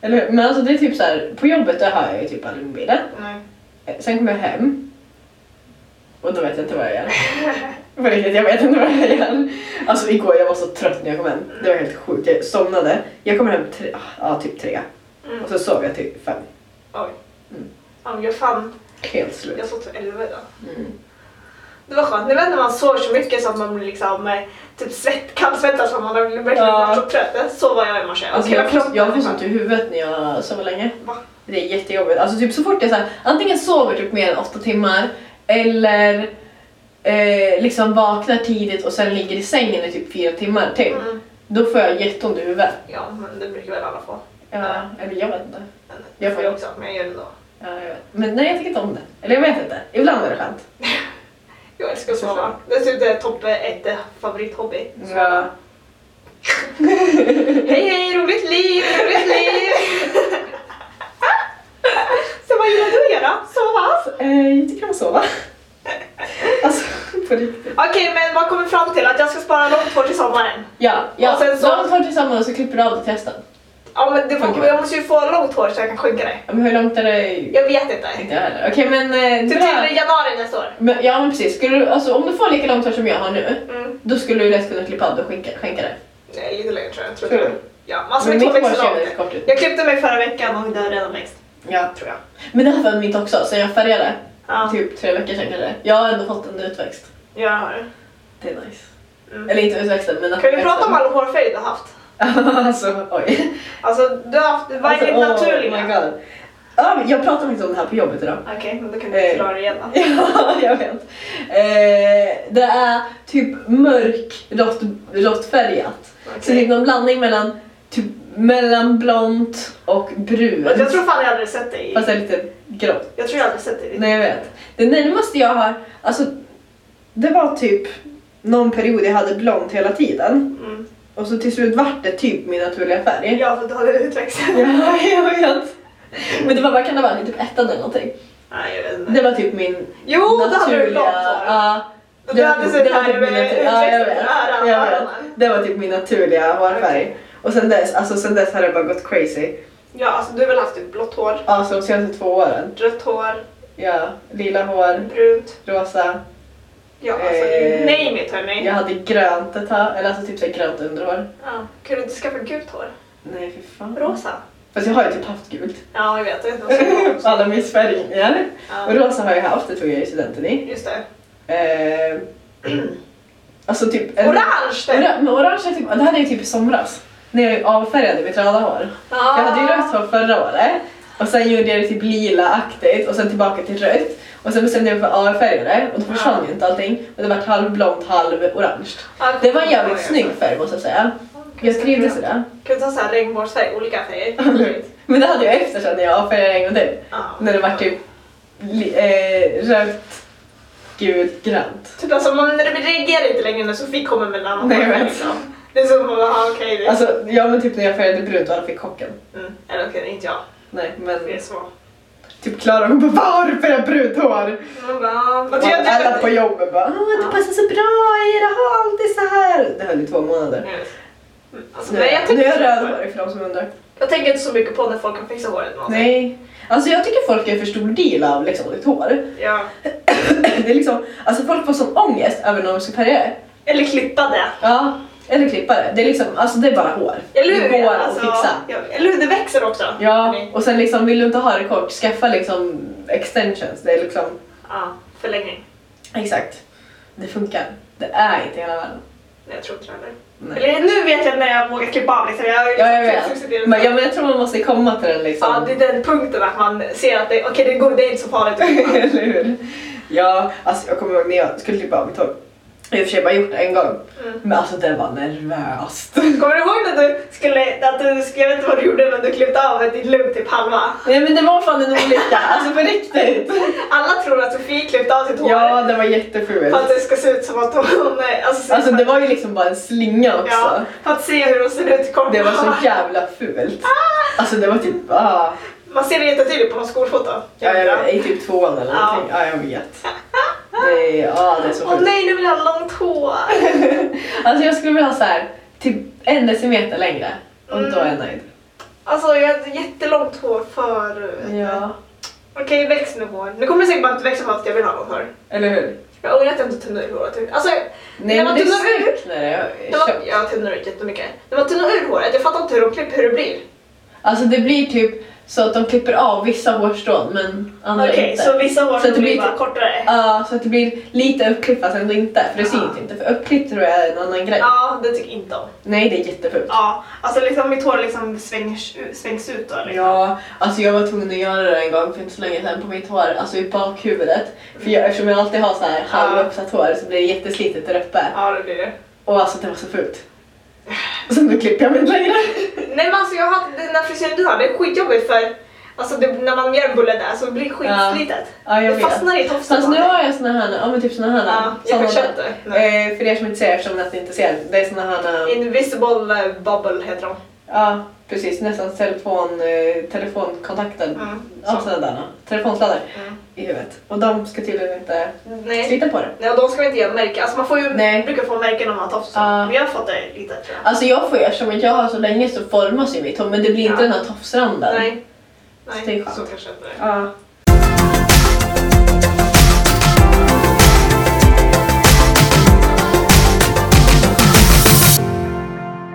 Speaker 2: Eller hur? Men alltså det är typ så här, på jobbet där har jag ju typ aldrig mobilen.
Speaker 1: Nej.
Speaker 2: Eh, Sen kommer jag hem. Och då vet jag inte vad jag gör. På riktigt, jag vet inte vad jag gör. Alltså igår jag var så trött när jag kom hem. Det var helt sjukt. Jag somnade. Jag kommer hem tre, ja, typ tre.
Speaker 1: Mm.
Speaker 2: Och så sov jag typ fem.
Speaker 1: Oj.
Speaker 2: Mm.
Speaker 1: Ja, men jag fan,
Speaker 2: Helt slut.
Speaker 1: jag sov till elva idag.
Speaker 2: Mm.
Speaker 1: Det var skönt. Nu vet när man sover så mycket så att man blir liksom eh, typ svett, kallsvettas för man har verkligen
Speaker 2: Ja.
Speaker 1: varit så trött. Så var jag i morse.
Speaker 2: Alltså
Speaker 1: Okej,
Speaker 2: jag,
Speaker 1: vad
Speaker 2: får,
Speaker 1: klockan
Speaker 2: jag
Speaker 1: är.
Speaker 2: får sånt i huvudet när jag sover länge.
Speaker 1: Va?
Speaker 2: Det är jättejobbigt. Alltså typ så fort jag så här, antingen sover typ mer än åtta timmar eller eh, liksom vaknar tidigt och sen ligger i sängen i typ fyra timmar till.
Speaker 1: Mm.
Speaker 2: Då får jag jätteont i huvudet.
Speaker 1: Ja, men det brukar väl alla få.
Speaker 2: Ja, eller jag vet inte.
Speaker 1: Men
Speaker 2: Jag
Speaker 1: jag får
Speaker 2: får-
Speaker 1: jag också, men jag gör det ändå.
Speaker 2: Ja, jag vet. Men nej, jag tycker inte om det. Eller jag vet inte. Ibland är det skönt.
Speaker 1: Jag älskar att sova. Dessutom är topp ett eh, favorithobby.
Speaker 2: Ja.
Speaker 1: Hej hej, roligt liv, roligt liv! Så vad gillar du att göra? Sova?
Speaker 2: Eh, jag tycker om att sova. alltså, på riktigt.
Speaker 1: Okej, men vad kommer fram till? Att jag ska spara långt hår till sommaren?
Speaker 2: Ja, ja.
Speaker 1: Och sen så-
Speaker 2: Långt hår tillsammans och så klipper du av det till hästen.
Speaker 1: Ja, men det får, jag måste ju få långt hår så jag kan skynka det.
Speaker 2: Ja, Men hur långt är det? Inte
Speaker 1: Jag vet inte.
Speaker 2: jag heller. Okej, men... Eh,
Speaker 1: Typ
Speaker 2: bra.
Speaker 1: till januari nästa år.
Speaker 2: Men, ja men precis, skulle du, alltså, om du får lika långt hår som jag har nu,
Speaker 1: Mm.
Speaker 2: då skulle du lätt kunna klippa av det och skänka, skänka det.
Speaker 1: Nej, lite längre tror jag. Tror
Speaker 2: Tror
Speaker 1: jag.
Speaker 2: du?
Speaker 1: Ja, massor
Speaker 2: Men
Speaker 1: med två
Speaker 2: mitt hår
Speaker 1: växlar
Speaker 2: ser väldigt
Speaker 1: långt.
Speaker 2: kort ut.
Speaker 1: Jag klippte mig förra veckan och det är redan längst,
Speaker 2: Ja.
Speaker 1: tror jag.
Speaker 2: Men det här var mitt också, sen jag färgade.
Speaker 1: Ja,
Speaker 2: Typ tre veckor sedan kanske. Jag har ändå fått en utväxt.
Speaker 1: jag har det.
Speaker 2: Det är nice.
Speaker 1: Mm.
Speaker 2: Eller inte utväxten men att
Speaker 1: Kan vi prata om all hårfärg du har haft?
Speaker 2: alltså oj.
Speaker 1: Alltså, du har haft, vad är ditt
Speaker 2: Alltså,
Speaker 1: naturliga?
Speaker 2: Oh my god. Ja, men jag pratade faktiskt om det här på jobbet idag.
Speaker 1: Okej, men då kan
Speaker 2: Eh.
Speaker 1: du förklara igen då.
Speaker 2: Ja, jag vet. Eh, det är typ mörk rått, råttfärgat. Så det är
Speaker 1: Okej.
Speaker 2: någon blandning mellan typ mellan blont och brunt.
Speaker 1: Jag tror fan jag aldrig sett dig i...
Speaker 2: Fast det är lite grått.
Speaker 1: Jag tror jag aldrig sett dig i...
Speaker 2: Nej jag vet. Det närmaste jag har, alltså det var typ någon period jag hade blont hela tiden.
Speaker 1: Mm.
Speaker 2: Och så till slut vart det typ min naturliga färg.
Speaker 1: Ja, för du hade utväxten.
Speaker 2: Ja, jag vet. Men det var, vad kan det vara, typ ettan eller någonting.
Speaker 1: Nej, jag vet inte.
Speaker 2: Det var typ min
Speaker 1: Jo, då hade du
Speaker 2: naturliga...
Speaker 1: långt hår.
Speaker 2: Ja,
Speaker 1: Du
Speaker 2: det var
Speaker 1: hade
Speaker 2: typ-
Speaker 1: sett
Speaker 2: det var
Speaker 1: här
Speaker 2: typ min
Speaker 1: med
Speaker 2: natur- ja, jag
Speaker 1: utväxten
Speaker 2: vet.
Speaker 1: på öronen.
Speaker 2: Jag vet. Det var typ min naturliga hårfärg. Och sen dess, alltså sen dess har det bara gått crazy.
Speaker 1: Ja, alltså du har väl haft typ blått hår,
Speaker 2: Alltså de senaste två åren.
Speaker 1: rött hår,
Speaker 2: Ja, lila hår,
Speaker 1: brunt.
Speaker 2: rosa.
Speaker 1: Ja, alltså
Speaker 2: Eh.
Speaker 1: name it hörni.
Speaker 2: Jag hade grönt ett tag, eller alltså typ såhär grönt underhår.
Speaker 1: Ja. Kan du inte skaffa gult hår?
Speaker 2: Nej fy fan.
Speaker 1: Rosa?
Speaker 2: Fast jag har ju typ haft gult.
Speaker 1: Ja, jag vet. Jag vet inte vad
Speaker 2: Alla missfärgningar. Och
Speaker 1: ja.
Speaker 2: rosa har jag haft, det tog jag ju studenten i.
Speaker 1: Just det.
Speaker 2: Eh, alltså typ...
Speaker 1: Orange! Det.
Speaker 2: Ora- men orange är typ, det hade jag ju typ i somras. När jag avfärgade mitt röda hår.
Speaker 1: Ja.
Speaker 2: Ah. Jag hade ju rött hår förra året. Och sen gjorde jag det typ lila-aktigt och sen tillbaka till rött. Och sen bestämde jag mig för A-färger och då försvann
Speaker 1: Ja.
Speaker 2: ju inte allting. Och det vart halvblont, halvorange. Det var en jävligt snygg färg måste jag säga. Jag trivdes i det.
Speaker 1: Kan du ta såhär regnbågsfärg, olika färger?
Speaker 2: Men det hade jag efter sen när jag A-färgade en gång till.
Speaker 1: Ja.
Speaker 2: När det var typ li- eh, rött, gult, grönt.
Speaker 1: Typ alltså man när det reagerar inte längre när Sofie kommer med en annan
Speaker 2: Nej, jag
Speaker 1: färg,
Speaker 2: vet.
Speaker 1: liksom. Det är som att ha okej det.
Speaker 2: Alltså, ja men typ när jag färgade brunt och alla fick chocken.
Speaker 1: mm. Eller okej, inte jag.
Speaker 2: Nej men
Speaker 1: Det är så.
Speaker 2: typ Klara hon bara “Vad har du för det här brunt hår?”
Speaker 1: Man bara... "Ah, vad
Speaker 2: Och
Speaker 1: gör du?
Speaker 2: alla på jobbet bara “Åh det
Speaker 1: Ja.
Speaker 2: passar så bra i det, ha alltid så här”. Det höll i två månader.
Speaker 1: Mm. Alltså,
Speaker 2: Nu
Speaker 1: nej, jag
Speaker 2: är nu
Speaker 1: tänker,
Speaker 2: är jag
Speaker 1: inte Alltså- så-
Speaker 2: rödhårig för de som undrar.
Speaker 1: jag tänker inte så mycket på när folk kan fixa håret. någonsin.
Speaker 2: Nej. Alltså jag tycker folk är för stor del av liksom, ditt hår.
Speaker 1: Ja.
Speaker 2: Det är liksom, alltså folk får sån ångest över när de ska färga det.
Speaker 1: Eller klippa det.
Speaker 2: Ja. Eller klippa det. Det är liksom, alltså det är bara hår.
Speaker 1: Eller hur?
Speaker 2: det går
Speaker 1: Alltså,
Speaker 2: att fixa.
Speaker 1: ja, eller hur? Det växer också.
Speaker 2: Ja,
Speaker 1: Nej.
Speaker 2: och sen liksom vill du inte ha det kort, skaffa liksom extensions. Det är liksom,
Speaker 1: Ja, förlängning.
Speaker 2: exakt. Det funkar. Det är inte hela världen.
Speaker 1: Nej, Jag tror inte det heller.
Speaker 2: Nej.
Speaker 1: Eller nu vet jag när jag vågar klippa av liksom. Jag,
Speaker 2: Ja, jag vet. Men, ja, men jag tror man måste komma till den liksom.
Speaker 1: Ja, det är den punkten att man ser att det, okej det, går, det är inte så farligt.
Speaker 2: Eller hur? Ja, alltså jag kommer ihåg när jag skulle klippa av mitt hår. Jag har i och för sig bara gjort det en gång.
Speaker 1: Mm.
Speaker 2: Men alltså det var nervöst.
Speaker 1: Kommer du ihåg när du skulle, att du, jag vet inte vad du gjorde men du klippte av din lugg typ halva?
Speaker 2: Nej men det var fan en olycka, alltså på riktigt.
Speaker 1: Alla tror att Sofie klippte av sitt hår
Speaker 2: Ja, det var
Speaker 1: för att
Speaker 2: jättefult.
Speaker 1: det ska se ut som att hon... Alltså,
Speaker 2: Alltså det var ju liksom bara en slinga också.
Speaker 1: Ja, för att se hur hon ser ut i
Speaker 2: Det var
Speaker 1: kameran.
Speaker 2: så jävla fult. Alltså det var typ, ah,
Speaker 1: Man ser det jättetydligt på någon skolfoto.
Speaker 2: ja, jag vet, i typ tvåan eller
Speaker 1: Ja.
Speaker 2: någonting. Ja, jag vet. Det är, ah, det är så
Speaker 1: Åh
Speaker 2: sjukt.
Speaker 1: nej, nu vill jag ha långt hår!
Speaker 2: Alltså jag skulle vilja ha så här, typ en decimeter längre. Och då är jag nöjd.
Speaker 1: Alltså jag hade jättelångt hår förut.
Speaker 2: Ja.
Speaker 1: Okej, väx nu hår. Nu kommer det säkert bara inte växa för att jag vill ha långt hår.
Speaker 2: Eller hur?
Speaker 1: Jag ångrar att jag inte tunnade ur håret. Alltså,
Speaker 2: Nej
Speaker 1: När
Speaker 2: men
Speaker 1: man
Speaker 2: det är
Speaker 1: tunnar ut-
Speaker 2: snyggt när det är
Speaker 1: när man,
Speaker 2: köpt.
Speaker 1: jag tunnar ut jättemycket. När man tunnar ur håret, jag fattar inte hur de klipper hur det blir.
Speaker 2: Alltså det blir typ så att de klipper av vissa hårstrån men andra inte.
Speaker 1: vissa hår
Speaker 2: Så det blir typ-
Speaker 1: kortare?
Speaker 2: Ja, så att det blir lite uppklippt fast ändå inte. För det syns
Speaker 1: Ja.
Speaker 2: inte. För uppklippt tror jag är en annan grej.
Speaker 1: Ja, det tycker jag inte om.
Speaker 2: Nej, det är jättefult.
Speaker 1: Ja, alltså liksom mitt hår liksom svängs, svängs ut då. Liksom.
Speaker 2: Ja, alltså jag var tvungen att göra det en gång för inte så länge sedan på mitt hår, alltså i bakhuvudet. För jag, eftersom jag alltid har så här halvuppsatt hår så blir det jätteslitet där uppe.
Speaker 1: Ja, det blir det.
Speaker 2: Och alltså det var så fult. Så nu klipper jag mig inte längre.
Speaker 1: Nej men alltså jag hade, den där frisyren du har, det är skitjobbigt för alltså det, när man gör en bulle där så blir det skitslitet.
Speaker 2: Ja, jag
Speaker 1: det
Speaker 2: vet.
Speaker 1: fastnar i tofsen.
Speaker 2: Fast
Speaker 1: på
Speaker 2: nu
Speaker 1: det.
Speaker 2: har jag såna här, ja men typ såna här.
Speaker 1: Ja, jag har
Speaker 2: såna
Speaker 1: köpt det. Nej.
Speaker 2: Eh, för er som inte ser, eftersom ni inte ser, det är såna här... eh,
Speaker 1: Invisible eh, bubble heter de.
Speaker 2: Ja, precis. Nästan telefon, eh, telefonkontakten.
Speaker 1: Mm,
Speaker 2: Ja,
Speaker 1: så.
Speaker 2: sådana där. Telefonsladdar
Speaker 1: Mm.
Speaker 2: i huvudet. Och de ska tydligen inte
Speaker 1: Nej.
Speaker 2: slita på det.
Speaker 1: Nej, och de ska man inte göra märken. Alltså man får ju,
Speaker 2: Nej.
Speaker 1: brukar få märken om man har tofs. och så.
Speaker 2: Ja.
Speaker 1: Men jag har fått det lite tror jag.
Speaker 2: Alltså jag får ju, eftersom inte jag har så länge så formas ju mitt hår men det blir inte
Speaker 1: Ja.
Speaker 2: den här tofsranden.
Speaker 1: Nej.
Speaker 2: Så det
Speaker 1: Nej,
Speaker 2: är skönt.
Speaker 1: så kanske inte det är.
Speaker 2: Ja.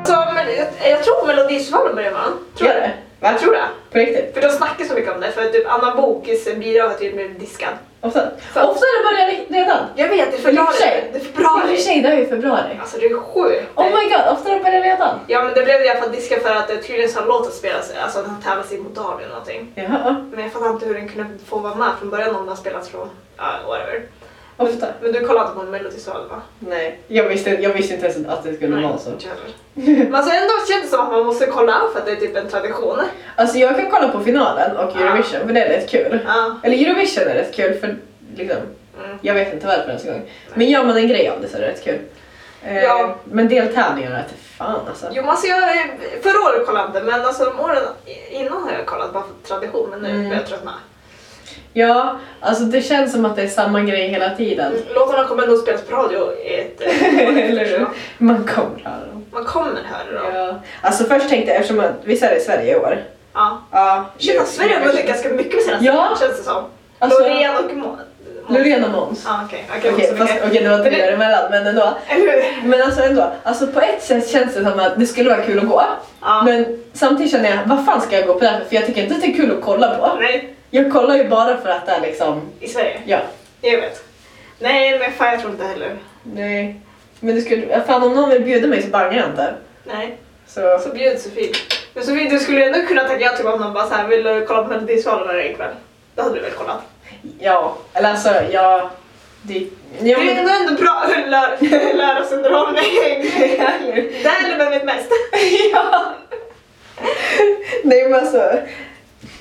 Speaker 1: Så, men, jag, jag tror Melodifestivalen börjar imorgon. Tror
Speaker 2: Gör
Speaker 1: jag
Speaker 2: det?
Speaker 1: Jag tror det.
Speaker 2: På riktigt?
Speaker 1: För de snackar så mycket om det. För att typ Anna Bookes bidrag har tydligen blivit diskad.
Speaker 2: Ofta?
Speaker 1: Så.
Speaker 2: Ofta är det börjar redan.
Speaker 1: Jag vet, det är
Speaker 2: I och för
Speaker 1: februari.
Speaker 2: sig.
Speaker 1: Det är
Speaker 2: I och för
Speaker 1: februari.
Speaker 2: sig, det är ju februari.
Speaker 1: Alltså det är sjukt.
Speaker 2: Oh my god, ofta är det börjar redan.
Speaker 1: Ja men det blev i alla fall diska för att det tydligen ska en låt att spelas, alltså att han tävlas i Moldavien eller någonting.
Speaker 2: Jaha,
Speaker 1: Men jag fattar inte hur den kunde få vara med från början om den har spelats från, ja whatever.
Speaker 2: ofta.
Speaker 1: Men du kollade inte på Melodifestivalen va?
Speaker 2: Nej, jag visste, jag visste inte ens att det skulle
Speaker 1: Nej,
Speaker 2: vara så.
Speaker 1: inte jag heller. Men alltså ändå känns det som att man måste kolla upp för att det är typ en tradition.
Speaker 2: Alltså jag kan kolla på finalen och Eurovision för det är rätt kul.
Speaker 1: Ja.
Speaker 2: Eller Eurovision är rätt kul för liksom,
Speaker 1: Mm.
Speaker 2: jag vet inte varför ens en gång. Men gör man en grej av det så är det rätt kul. Eh,
Speaker 1: Ja.
Speaker 2: Men deltävlingarna är fan alltså.
Speaker 1: Jo men alltså jag, eh, förra året kollade jag inte men alltså de åren innan har jag kollat bara för tradition men nu
Speaker 2: Mm.
Speaker 1: börjar jag tröttna.
Speaker 2: Ja, alltså det känns som att det är samma grej hela tiden.
Speaker 1: Låtarna kommer ändå spelas på radio i ett... eh, Mm.
Speaker 2: Eller hur? Man kommer höra dem.
Speaker 1: Man kommer höra dem.
Speaker 2: Ja. Alltså först tänkte jag, eftersom att, visst är det i Sverige i år?
Speaker 1: Ja.
Speaker 2: Ja.
Speaker 1: Shit, att Sverige har vunnit ganska mycket med senaste
Speaker 2: Ja.
Speaker 1: åren, känns det som.
Speaker 2: Alltså-
Speaker 1: Loreen och Måns.
Speaker 2: Loreen och Måns.
Speaker 1: Ja, okej. Okej,
Speaker 2: Okej,
Speaker 1: Måns och
Speaker 2: fast
Speaker 1: Mikael.
Speaker 2: okej, det var inte det emellan, men ändå.
Speaker 1: Eller hur?
Speaker 2: Men alltså ändå, alltså på ett sätt känns det som att det skulle vara kul att gå.
Speaker 1: Ja.
Speaker 2: Men samtidigt känner jag, vad fan ska jag gå på det här för? För jag tycker inte att det är kul att kolla på.
Speaker 1: Nej,
Speaker 2: Jag kollar ju bara för att det är liksom,
Speaker 1: i Sverige.
Speaker 2: ja.
Speaker 1: Jag vet. Nej, men fan jag tror inte heller.
Speaker 2: Nej. Men det skulle, fan om någon vill bjuda mig så bangar jag inte.
Speaker 1: Nej.
Speaker 2: Så,
Speaker 1: Så bjud Sofie. Men Sofie, du skulle ju ändå kunna tacka ja till någon bara såhär, vill du kolla på Melodifestivalen ikväll? Då hade du väl kollat?
Speaker 2: Ja, eller alltså jag... Det, ja,
Speaker 1: det är
Speaker 2: men,
Speaker 1: ändå, ändå bra lör- lördagsunderhållning. Där vem vet mest?
Speaker 2: ja. Nej men alltså.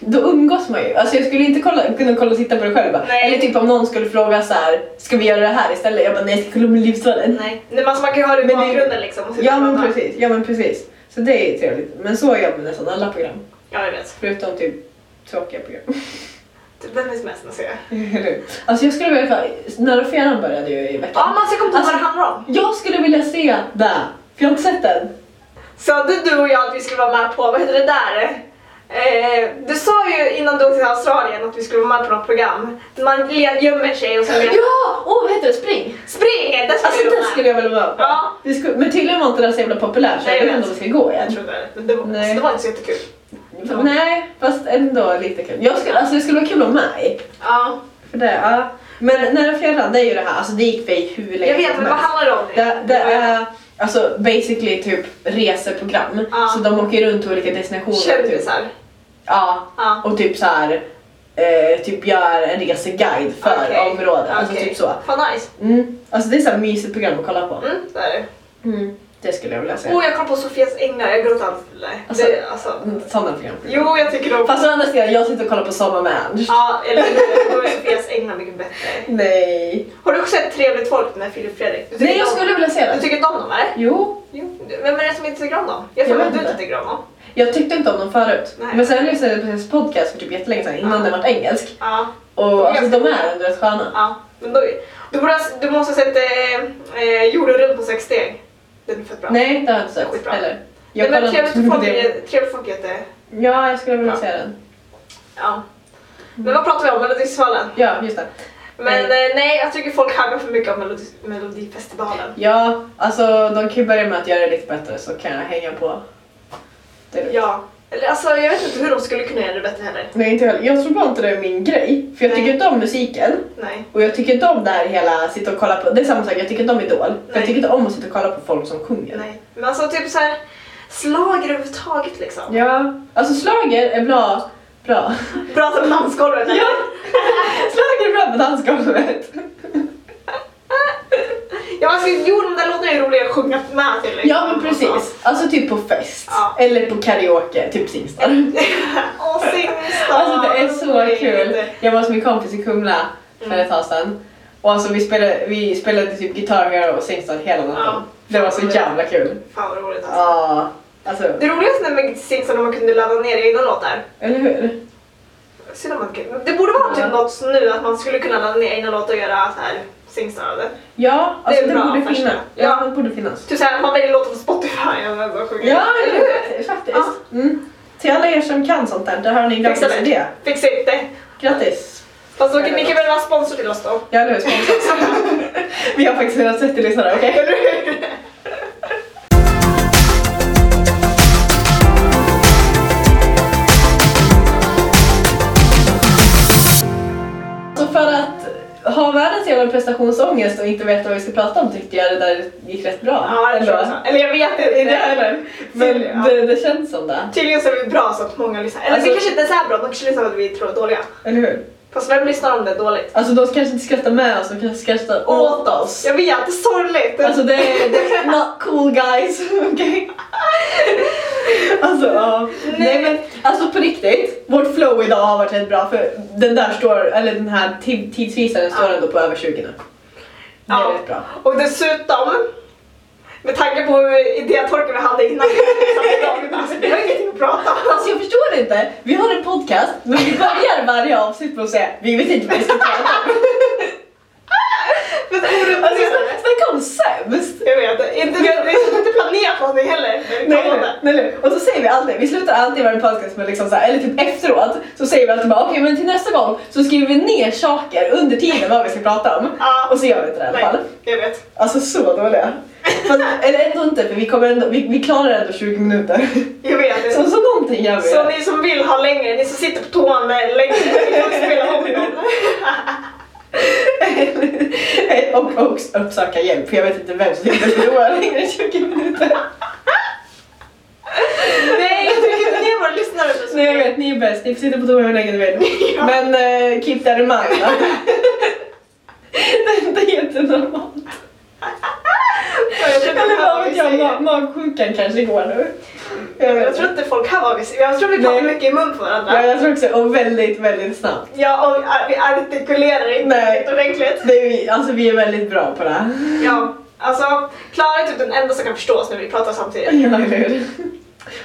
Speaker 2: Då umgås man ju. Alltså jag skulle inte kolla, kunna kolla och titta på det själv. bara.
Speaker 1: Nej.
Speaker 2: Eller typ om någon skulle fråga så här, ska vi göra det här istället? Jag bara, nej jag ska kolla med livsvalen.
Speaker 1: Nej. men alltså, man kan ju ha det i
Speaker 2: Men det-
Speaker 1: bakgrunden liksom. och sitta
Speaker 2: Ja
Speaker 1: och
Speaker 2: men
Speaker 1: prata.
Speaker 2: precis, ja men precis. Så det är trevligt. Men så gör man nästan alla program.
Speaker 1: Ja, jag vet.
Speaker 2: Förutom typ tråkiga program.
Speaker 1: Typ, Vem vet mest? Alltså, jag.
Speaker 2: Eller? alltså jag skulle vilja, när och fjärran började ju i veckan.
Speaker 1: Ja, men alltså, jag kom på
Speaker 2: Alltså-
Speaker 1: vad det handlar om.
Speaker 2: Jag skulle vilja se det, för jag har inte sett den.
Speaker 1: Sa inte du och jag att vi skulle vara med på, vad heter det där? Eh, du sa ju innan du åkte till Australien att vi skulle vara med på något program. Där Man le- gömmer sig och så...
Speaker 2: Ja! Åh, vad heter det? Spring!
Speaker 1: Spring! Där ska
Speaker 2: Alltså
Speaker 1: vi vara
Speaker 2: det
Speaker 1: med.
Speaker 2: skulle jag väl vara på.
Speaker 1: Ja.
Speaker 2: Det skulle, men tydligen var inte den så jävla populär så
Speaker 1: Nej,
Speaker 2: jag
Speaker 1: jag
Speaker 2: vet inte
Speaker 1: vet.
Speaker 2: om vi ska gå igen.
Speaker 1: Jag trodde det. Men det var,
Speaker 2: Nej.
Speaker 1: så det var inte så jättekul.
Speaker 2: F- Nej, fast ändå lite kul. Jag skulle, alltså det skulle vara kul att vara med i.
Speaker 1: Ja.
Speaker 2: För det, ja. Men Nära fjärran, det är ju det här, alltså det gick vi hur länge
Speaker 1: Jag vet,
Speaker 2: som
Speaker 1: men vad
Speaker 2: helst.
Speaker 1: handlar det om?
Speaker 2: det, det är alltså basically typ reseprogram.
Speaker 1: Ja.
Speaker 2: Så de åker runt till olika destinationer. typ.
Speaker 1: Kändisar.
Speaker 2: Ja,
Speaker 1: Ja.
Speaker 2: och typ så här eh, typ gör en reseguide för
Speaker 1: Okej.
Speaker 2: områden. Alltså
Speaker 1: Okej.
Speaker 2: typ så.
Speaker 1: Fan nice.
Speaker 2: Mm. Alltså det är så här mysigt program att kolla på.
Speaker 1: Mm, det är det.
Speaker 2: Mm. Det skulle jag vilja säga.
Speaker 1: Oh, jag kom på Sofias änglar. Jag gråter alltid. Nej,
Speaker 2: Alltså-
Speaker 1: det, alltså.
Speaker 2: Mm, Sådana program.
Speaker 1: Jo, jag tycker om...
Speaker 2: Fast å andra sidan, jag sitter och kollar på Sommar med Ernst.
Speaker 1: Ja, eller hur? Då är Sofias änglar mycket bättre.
Speaker 2: Nej.
Speaker 1: Har du också sett Trevligt folk med Filip Fredrik? Du tycker
Speaker 2: Nej, jag
Speaker 1: om-
Speaker 2: skulle vilja se
Speaker 1: Du
Speaker 2: det.
Speaker 1: tycker inte om dem eller?
Speaker 2: Jo.
Speaker 1: Jo. Vem är det som inte tycker om dem? Jag tror
Speaker 2: Jag
Speaker 1: att du
Speaker 2: vet
Speaker 1: inte
Speaker 2: inte.
Speaker 1: tycker om dem.
Speaker 2: Jag tyckte inte om dem förut.
Speaker 1: Nej.
Speaker 2: Men sen lyssnade jag på hennes podcast för typ jättelänge sedan, innan
Speaker 1: Ja.
Speaker 2: den vart engelsk.
Speaker 1: Ja.
Speaker 2: Och
Speaker 1: Jag
Speaker 2: alltså
Speaker 1: vet.
Speaker 2: de är ändå rätt sköna.
Speaker 1: ja. Men då, du, borde, ha- du måste ha sett eh, eh, jorden runt på sex steg. Den är fett bra.
Speaker 2: Nej, det har jag inte sett.
Speaker 1: Skitbra.
Speaker 2: Eller.
Speaker 1: Jag Nej,
Speaker 2: Jag
Speaker 1: men
Speaker 2: kollade
Speaker 1: trevligt
Speaker 2: inte på
Speaker 1: folk,
Speaker 2: det.
Speaker 1: är- trevligt folk är jätte...
Speaker 2: Ja, jag skulle vilja
Speaker 1: Ja.
Speaker 2: se den.
Speaker 1: Ja. Men vad pratar vi om? Melodifestivalen?
Speaker 2: Ja, just det.
Speaker 1: Men eh, nej, jag tycker folk haggar för mycket om Melodi- Melodifestivalen.
Speaker 2: Ja, alltså de kan ju börja med att göra det lite bättre så kan jag hänga på. Det är lugnt.
Speaker 1: Ja. Eller alltså, jag vet inte hur de skulle kunna göra det bättre heller.
Speaker 2: Nej, inte heller. Jag tror bara inte det är min grej. För jag
Speaker 1: Nej.
Speaker 2: tycker inte om musiken.
Speaker 1: Nej.
Speaker 2: Och jag tycker inte om det här hela sitta och kolla på. Det är samma sak, jag tycker inte om Idol. För
Speaker 1: Nej.
Speaker 2: jag tycker inte om att sitta och kolla på folk som sjunger.
Speaker 1: Nej. Men alltså typ så här slag överhuvudtaget liksom.
Speaker 2: Ja, alltså slager är bra. Bra.
Speaker 1: Bra som dansgolvet. eller?
Speaker 2: Ja! slager är bra på dansgolvet.
Speaker 1: Ja, alltså, jo, de där låtarna är roliga att sjunga med till. liksom.
Speaker 2: Ja men precis. Alltså typ på fest.
Speaker 1: Ja.
Speaker 2: Eller på karaoke, typ Singstar.
Speaker 1: Åh, Singstar!
Speaker 2: Alltså det är så kul. Jag var hos min kompis i Kumla för
Speaker 1: Mm.
Speaker 2: ett tag sedan. Och alltså vi spelade, vi spelade typ Guitar Hero och Singstar hela natten.
Speaker 1: Ja.
Speaker 2: Det var så jävla kul.
Speaker 1: Fan vad roligt alltså.
Speaker 2: Ja, alltså
Speaker 1: Det roligaste med Singstar när man kunde ladda ner egna låtar.
Speaker 2: eller hur?
Speaker 1: Synd om man inte kan- Det borde vara typ
Speaker 2: Ja.
Speaker 1: något nu att man skulle kunna ladda ner egna låtar och göra så här Singstar av det.
Speaker 2: Ja, alltså
Speaker 1: är
Speaker 2: det,
Speaker 1: bra
Speaker 2: borde
Speaker 1: affärs-
Speaker 2: finnas.
Speaker 1: ja.
Speaker 2: Ja, det borde finnas.
Speaker 1: Typ såhär, man väljer låtar på Spotify och man bara sjunger.
Speaker 2: Ja,
Speaker 1: Eller
Speaker 2: eller
Speaker 1: hur?
Speaker 2: hur? faktiskt.
Speaker 1: Ja.
Speaker 2: Mm. Till alla er som kan sånt där, där har ni en gratis
Speaker 1: Fixa det.
Speaker 2: idé.
Speaker 1: Fixa ut det.
Speaker 2: Grattis!
Speaker 1: Fast då kan ni kan väl vara sponsor till oss då?
Speaker 2: Ja, eller hur? Sponsor också. Vi har faktiskt 130 lyssnare, okej?
Speaker 1: Eller hur?
Speaker 2: Så Alltså, för att ha världens jävla prestationsångest och inte veta vad vi ska prata om tyckte jag det där gick rätt bra.
Speaker 1: Ja, det tror jag också. Eller jag vet inte.
Speaker 2: Inte jag heller. Men
Speaker 1: Ja.
Speaker 2: det, det känns som det.
Speaker 1: Tydligen så är vi bra så att många lyssnar. Eller
Speaker 2: Alltså-
Speaker 1: vi kanske inte är så här bra, de kanske lyssnar för att vi tror att dåliga.
Speaker 2: Eller hur?
Speaker 1: Fast vem lyssnar om det är dåligt?
Speaker 2: Alltså de kanske inte skrattar med oss, de kanske skrattar åt oss.
Speaker 1: Jag vet, det är sorgligt.
Speaker 2: Alltså det är, det är not cool guys, okej? Alltså ja.
Speaker 1: Nej.
Speaker 2: Nej. men alltså på riktigt, vårt flow idag har varit rätt bra för den där står, eller den här tid- tidsvisaren står
Speaker 1: Ja.
Speaker 2: ändå på över 20 nu. Det är
Speaker 1: Ja.
Speaker 2: rätt bra.
Speaker 1: Och dessutom, med tanke på hur idétorken vi hade innan, alltså, vi har ingenting att prata om.
Speaker 2: Alltså jag förstår inte, vi har en podcast men vi börjar varje avsnitt med att säga vi vet inte vad vi ska prata om.
Speaker 1: Men orepeterade.
Speaker 2: Alltså sn- snacka om sämst!
Speaker 1: jag vet, inte, vi har inte planerat någonting heller. när vi
Speaker 2: Nej,
Speaker 1: pratade.
Speaker 2: eller- nej, eller- och så säger vi alltid, vi slutar alltid varje podcast med liksom så här, eller typ efteråt, så säger vi alltid bara okej men till nästa gång så skriver vi ner saker under tiden vad vi ska prata om.
Speaker 1: Ja.
Speaker 2: Och så gör vi inte det i alla fall.
Speaker 1: Nej, jag vet.
Speaker 2: Alltså så dåliga. Fast, eller ändå inte för vi, kommer ändå, vi, vi klarar ändå 20 minuter.
Speaker 1: Jag vet.
Speaker 2: Så,
Speaker 1: Så,
Speaker 2: så någonting gör vi.
Speaker 1: så ni som vill ha längre, ni som sitter på toan där länge, ni får spela om dem.
Speaker 2: och, och uppsöka hjälp för jag vet inte vem som sitter på toa längre än 20 minuter.
Speaker 1: Nej, jag tycker inte ni är våra lyssnare.
Speaker 2: Nej jag vet, ni är bäst, ni får sitta på toa hur länge ni vill. Men eh, keep that in mind. va? det är inte jättenormalt.
Speaker 1: Jag tror inte
Speaker 2: Eller
Speaker 1: folk
Speaker 2: vad vet
Speaker 1: vi
Speaker 2: jag,
Speaker 1: säger.
Speaker 2: ma- magsjukan kanske går nu. Jag,
Speaker 1: Jag
Speaker 2: vet
Speaker 1: tror
Speaker 2: inte.
Speaker 1: inte folk hör vad vi säger. Jag tror vi pratar
Speaker 2: Nej.
Speaker 1: mycket i mun på varandra.
Speaker 2: ja, jag tror också, och väldigt, väldigt snabbt.
Speaker 1: Ja, och ar- vi artikulerar inte
Speaker 2: Nej.
Speaker 1: riktigt ordentligt.
Speaker 2: Det är, vi- alltså vi är väldigt bra på det.
Speaker 1: Ja, alltså Klara är typ den enda som kan förstå oss när vi pratar samtidigt.
Speaker 2: Ja, eller hur?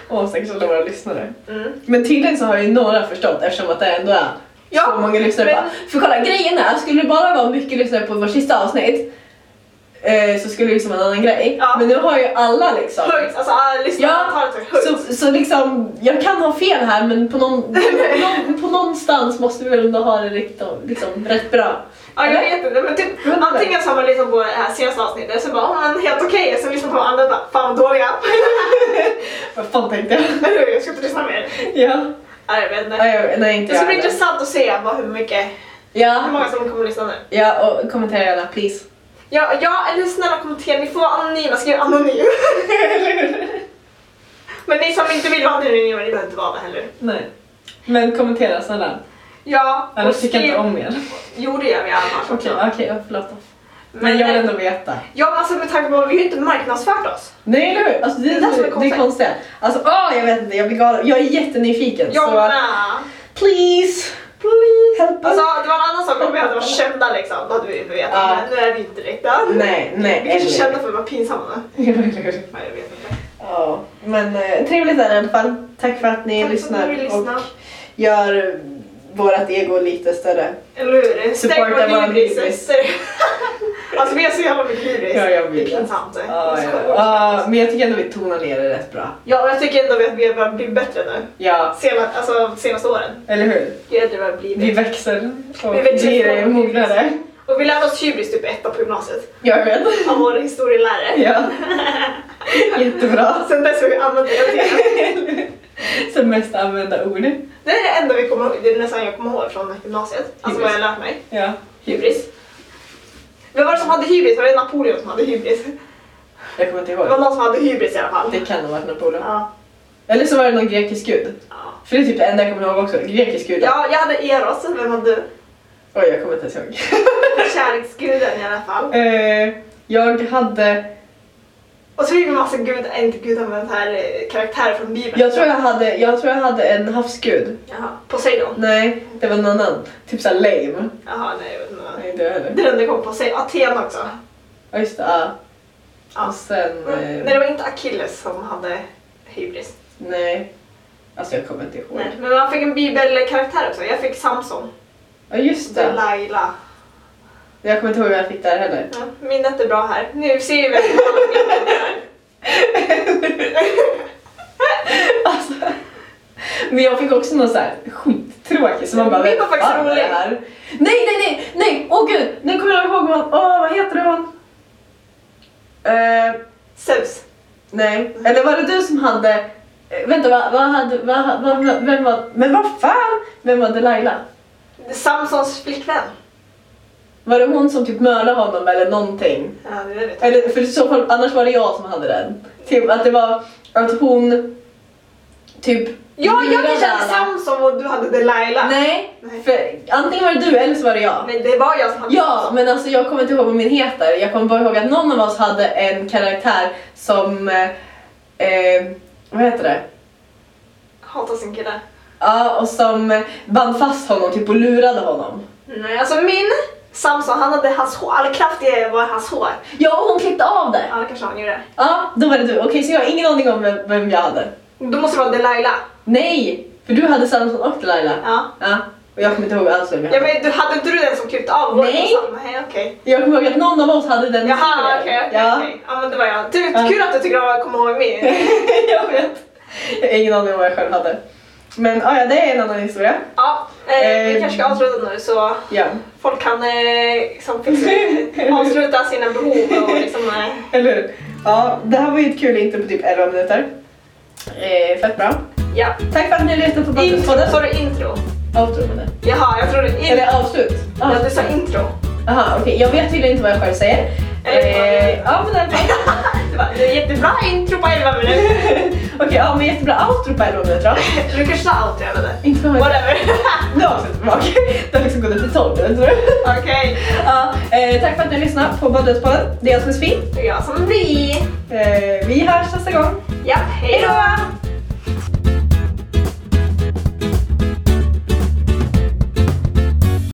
Speaker 2: Åh, säkert alla våra lyssnare.
Speaker 1: Mm.
Speaker 2: Men tydligen så har ju några förstått eftersom att det ändå är
Speaker 1: Ja,
Speaker 2: så många lyssnare.
Speaker 1: men-
Speaker 2: Bara, för kolla, grejen är, skulle det bara vara mycket lyssnare på vårt sista avsnitt eh, så skulle det liksom vara en annan grej.
Speaker 1: Ja.
Speaker 2: Men nu har ju alla liksom...
Speaker 1: Höjt, alltså ah, lyssnarantalet har höjts.
Speaker 2: Så, så liksom, jag kan ha fel här men på, någon, på, någon, på någonstans måste vi väl ändå ha det riktigt, liksom, rätt bra.
Speaker 1: Ja, jag vet inte. Men typ,
Speaker 2: Vänta.
Speaker 1: antingen så har man lyssnat på det här senaste avsnittet så bara, oh, men helt okej. Sen lyssnar man på andra och bara, fan dåliga.
Speaker 2: Vad fan tänkte jag?
Speaker 1: Eller hur? Jag ska inte lyssna mer.
Speaker 2: ja.
Speaker 1: Nej, jag vet inte.
Speaker 2: Nej, jag- nej, inte
Speaker 1: Det ska
Speaker 2: jag
Speaker 1: bli
Speaker 2: heller.
Speaker 1: intressant att se vad, hur mycket, hur
Speaker 2: Ja,
Speaker 1: många som kommer att lyssna nu.
Speaker 2: ja, och kommentera gärna please.
Speaker 1: Ja, ja eller snälla kommentera, ni får vara anonyma, skriv anonym. Men ni som inte vill vara anonyma, ni behöver inte vara det heller.
Speaker 2: Nej. Men kommentera snälla.
Speaker 1: Ja, och
Speaker 2: Annars tycker jag inte om er.
Speaker 1: Jo, det gör vi i alla fall.
Speaker 2: Okej, okej, ja, förlåt. Men jag vill ändå veta.
Speaker 1: Ja, men alltså med tanke på att vi har ju inte marknadsfört oss.
Speaker 2: Nej, eller hur? Alltså, det,
Speaker 1: Det
Speaker 2: är
Speaker 1: är det som är
Speaker 2: det
Speaker 1: konstigt.
Speaker 2: är konstigt. Alltså, åh, jag vet inte, jag blir galen. Jag är jättenyfiken.
Speaker 1: Jag
Speaker 2: så
Speaker 1: med.
Speaker 2: please,
Speaker 1: Please.
Speaker 2: help us.
Speaker 1: Alltså det var en annan sak om vi hade varit kända liksom, då hade vi vetat.
Speaker 2: Ja.
Speaker 1: Men nu är vi inte riktigt.
Speaker 2: nej, nej.
Speaker 1: Vi kanske är
Speaker 2: eller-
Speaker 1: kända för att vara pinsamma.
Speaker 2: Ja, eller hur?
Speaker 1: Nej, jag vet inte.
Speaker 2: Ja, men eh, trevligt är det i alla fall. Tack för att ni
Speaker 1: Tack för
Speaker 2: lyssnar
Speaker 1: att ni lyssnar.
Speaker 2: och gör vårt ego lite större.
Speaker 1: Eller hur? Stäng
Speaker 2: Supporta
Speaker 1: vår
Speaker 2: våran
Speaker 1: hybris.
Speaker 2: hybris.
Speaker 1: alltså vi har så jävla mycket hybris.
Speaker 2: Ja, jag
Speaker 1: det är
Speaker 2: vet.
Speaker 1: pinsamt.
Speaker 2: Ja,
Speaker 1: Det är så
Speaker 2: ja.
Speaker 1: sjukt.
Speaker 2: Ja, men jag tycker ändå vi tonar ner det rätt bra.
Speaker 1: Ja, och jag tycker ändå att vi har börjat bli bättre nu.
Speaker 2: Ja,
Speaker 1: Sena, alltså senaste åren.
Speaker 2: eller hur?
Speaker 1: Gud, vad blir
Speaker 2: Vi
Speaker 1: det?
Speaker 2: växer och
Speaker 1: Vi växer
Speaker 2: blir
Speaker 1: ifrån
Speaker 2: mognare.
Speaker 1: Och vi lärde oss hybris typ i ettan på gymnasiet.
Speaker 2: Jag vet.
Speaker 1: Av vår historielärare.
Speaker 2: Ja. Jättebra.
Speaker 1: Sen dess har vi använt det hela tiden.
Speaker 2: Som mest använda ord.
Speaker 1: Det är det enda vi kommer ihåg, det är nästan jag kommer ihåg från gymnasiet. Alltså vad jag lärt mig.
Speaker 2: Ja.
Speaker 1: Hybris. Vem var det som hade hybris? Var det Napoleon som hade hybris?
Speaker 2: Jag kommer inte
Speaker 1: Det var
Speaker 2: ihåg.
Speaker 1: någon som hade hybris i alla fall.
Speaker 2: Det kan ha varit Napoleon.
Speaker 1: Ja.
Speaker 2: Eller så var det någon grekisk gud.
Speaker 1: Ja.
Speaker 2: För det är typ det enda jag kommer ihåg också. Grekisk gud.
Speaker 1: ja, jag hade Eros. Vem hade du?
Speaker 2: Oj, jag kommer inte ens ihåg.
Speaker 1: Kärleksguden i alla fall.
Speaker 2: Eh, jag hade...
Speaker 1: Och så är det en massa gud, äh, inte gudar men så här eh, karaktärer från Bibeln.
Speaker 2: Jag tror jag hade, jag tror jag hade en havsgud.
Speaker 1: Jaha. Poseidon.
Speaker 2: Nej, det var någon annan. Typ såhär lame.
Speaker 1: Jaha, nej jag vet inte.
Speaker 2: Nej, inte jag heller.
Speaker 1: Det är den det kom Poseidon. Aten också.
Speaker 2: Ja, just det. Ja.
Speaker 1: Ja. Mm.
Speaker 2: Och sen...
Speaker 1: Nej,
Speaker 2: Eh,
Speaker 1: det var inte Achilles som hade hybris.
Speaker 2: nej. Alltså jag kommer inte ihåg.
Speaker 1: Nej. Men man fick en bibelkaraktär också. Jag fick Samson.
Speaker 2: Ja, just det.
Speaker 1: Delilah.
Speaker 2: Jag kommer inte ihåg vad jag fick där heller.
Speaker 1: Ja, minnet är bra här. Nu ser vi väldigt bra minnet här.
Speaker 2: Alltså, men jag fick också någon så här skittråkig som man bara
Speaker 1: Min
Speaker 2: "Vad
Speaker 1: var faktiskt
Speaker 2: fan är det
Speaker 1: rolig."
Speaker 2: här?" Nej, nej, nej, nej, åh gud, nu kommer jag ihåg hon, åh vad heter hon? Eh,
Speaker 1: Zeus.
Speaker 2: nej, eller var det du som hade, eh, vänta vad, vad hade, vad, vad, vad, vem var, men vad fan, vem var Delilah?
Speaker 1: Samsons flickvän.
Speaker 2: Var det hon som typ mördade honom eller någonting?
Speaker 1: Ja, det vet jag.
Speaker 2: Eller för i så fall, annars var det jag som hade den. Typ att det var att hon typ
Speaker 1: Ja, jag
Speaker 2: lurade
Speaker 1: kanske
Speaker 2: alla.
Speaker 1: hade Samson och du hade Delilah.
Speaker 2: Nej,
Speaker 1: Nej.
Speaker 2: för antingen var det du eller så var det jag.
Speaker 1: Nej, det var jag som hade
Speaker 2: Ja,
Speaker 1: Samson.
Speaker 2: men alltså jag kommer inte ihåg vad min heter. Jag kommer bara ihåg att någon av oss hade en karaktär som... eh, Eh, vad heter det?
Speaker 1: Hatar sin kille.
Speaker 2: Ja, och som eh, band fast honom typ och lurade honom.
Speaker 1: Nej, alltså min Samson, han hade hans hår. All kraft i var hans hår.
Speaker 2: Ja, och hon klippte av det!
Speaker 1: Ja, det kanske han gjorde.
Speaker 2: Ja, då var det du. Okej, så jag har ingen aning om vem, vem jag hade.
Speaker 1: Då måste det vara Delilah.
Speaker 2: Nej! För du hade Samson och Delilah.
Speaker 1: Ja.
Speaker 2: Ja, och jag kommer inte ihåg alls vem jag
Speaker 1: ja
Speaker 2: hade.
Speaker 1: men du, hade inte du den som klippte av håret?
Speaker 2: Nej.
Speaker 1: Nej, okej.
Speaker 2: Jag kommer ihåg att någon av oss hade den
Speaker 1: Jaha,
Speaker 2: historien.
Speaker 1: okej. okej,
Speaker 2: Ja.
Speaker 1: okej. Ja, men det var jag. Du,
Speaker 2: Ja.
Speaker 1: Kul att du tycker om att komma ihåg min.
Speaker 2: jag vet. Jag har ingen aning om vad jag själv hade. Men ah, ja, det är en annan historia.
Speaker 1: Ja, eh, vi
Speaker 2: Eh.
Speaker 1: kanske ska avsluta nu så
Speaker 2: Ja.
Speaker 1: folk kan eh, liksom, fixa, avsluta sina behov och liksom... Eh,
Speaker 2: Eller hur? Ja, det här var ju ett kul intro på typ 11 minuter. Eh, fett bra.
Speaker 1: ja.
Speaker 2: Tack för att ni lyssnade på
Speaker 1: Intro,
Speaker 2: Babbelpodden.
Speaker 1: sa du intro?
Speaker 2: Outro menar
Speaker 1: Jaha, jag trodde
Speaker 2: jag.
Speaker 1: intro.
Speaker 2: Eller Ah. avslut.
Speaker 1: Ja, du sa intro.
Speaker 2: Aha, okej. Jag vet tydligen inte vad jag själv säger.
Speaker 1: Eller-
Speaker 2: Eh, ja, men i alla fall.
Speaker 1: Det var det var jättebra intro på 11 minuter.
Speaker 2: Okej, ja men jättebra outro på elva minuter då.
Speaker 1: Du kanske sa allt, jag vet inte.
Speaker 2: Inte för mig.
Speaker 1: Whatever.
Speaker 2: Nu har vi sett tillbaka. Det har liksom gått upp till 12 minuter tror jag.
Speaker 1: Okej.
Speaker 2: Ja, eh, tack för att ni lyssnade på Badhuspodden. Det är jag som är Sofie.
Speaker 1: Det är jag som blir.
Speaker 2: Eh, vi hörs nästa gång.
Speaker 1: Japp, hej